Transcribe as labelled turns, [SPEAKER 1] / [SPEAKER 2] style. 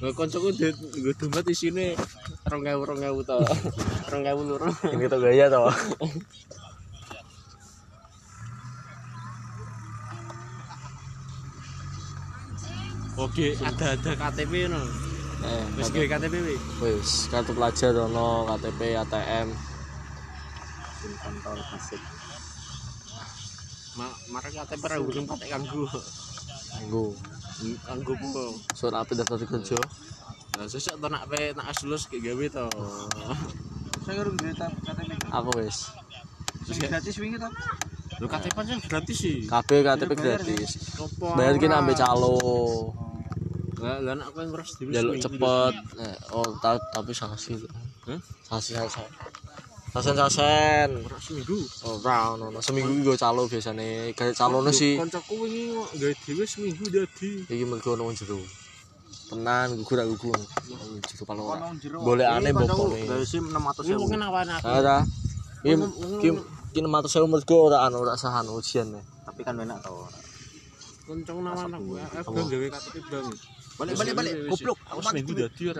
[SPEAKER 1] Nggak koncoku duit gue dompet di sini rong ewu rong ewu to, rong ewu loro.
[SPEAKER 2] Ini tuh gaya toh.
[SPEAKER 1] Oke, ada ada KTP no.
[SPEAKER 2] Eh,
[SPEAKER 1] Wis
[SPEAKER 2] kartu-
[SPEAKER 1] gawe KTP wi.
[SPEAKER 2] wis kartu pelajar ono KTP ATM
[SPEAKER 1] Sim kantor fisik. Ma, marang KTP ra urung patek kanggo.
[SPEAKER 2] nganggo
[SPEAKER 1] Kanggo po.
[SPEAKER 2] surat api daftar kerja
[SPEAKER 1] Lah sesuk to nak pe nak asulus ki gawe to.
[SPEAKER 3] Saya urung duwe tab KTP.
[SPEAKER 2] aku wis
[SPEAKER 1] Terus
[SPEAKER 3] Sing
[SPEAKER 1] ya,
[SPEAKER 3] gratis wingi tab.
[SPEAKER 1] Lho KTP kan gratis sih.
[SPEAKER 2] KB KTP gratis
[SPEAKER 1] Opo
[SPEAKER 2] bayar kini
[SPEAKER 1] ora?
[SPEAKER 2] ambil calo
[SPEAKER 1] Lah lah nak kowe ngeras dhewe.
[SPEAKER 2] jaluk
[SPEAKER 1] sih.
[SPEAKER 2] cepet Eh, oh ta- tapi sanksi
[SPEAKER 1] Hah?
[SPEAKER 2] sanksi sanksi sasen sasen
[SPEAKER 1] Ora seminggu.
[SPEAKER 2] ora ono ono. seminggu iki go calo biasane gawe calone sih
[SPEAKER 1] Kancaku wingi kok gawe dhewe seminggu dadi.
[SPEAKER 2] iki mergo ono wong jero tenan gugur aku gugur jero paling ora
[SPEAKER 3] Ono wong jero.
[SPEAKER 2] golekane
[SPEAKER 3] Gawe
[SPEAKER 2] mbokone
[SPEAKER 3] sim 600.000.
[SPEAKER 1] Ini mungkin awan aku.
[SPEAKER 2] ora iki iki iki 400.000 mergo ora anu ora sahan ujian
[SPEAKER 3] Tapi kan enak tau.
[SPEAKER 1] Kenceng nawan aku. Aku gawe KTP bang.
[SPEAKER 3] Balik balik balik. Goblok.
[SPEAKER 1] Aku seminggu dadi ora.